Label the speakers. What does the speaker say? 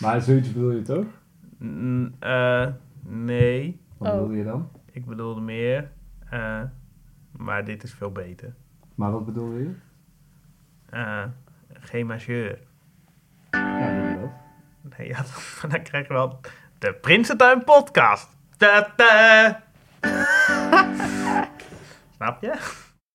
Speaker 1: Maar zoiets bedoel je toch?
Speaker 2: N- eh, nee,
Speaker 1: Wat
Speaker 3: Oh.
Speaker 1: bedoel je dan?
Speaker 2: ik bedoelde meer. eh, maar dit is veel beter.
Speaker 1: Maar wat bedoel je?
Speaker 2: Eh, geen majeur.
Speaker 1: Ja, inderdaad.
Speaker 2: Nee, ja, dan, dan krijg je wel de Prinsentuin podcast. Da, da. Snap je?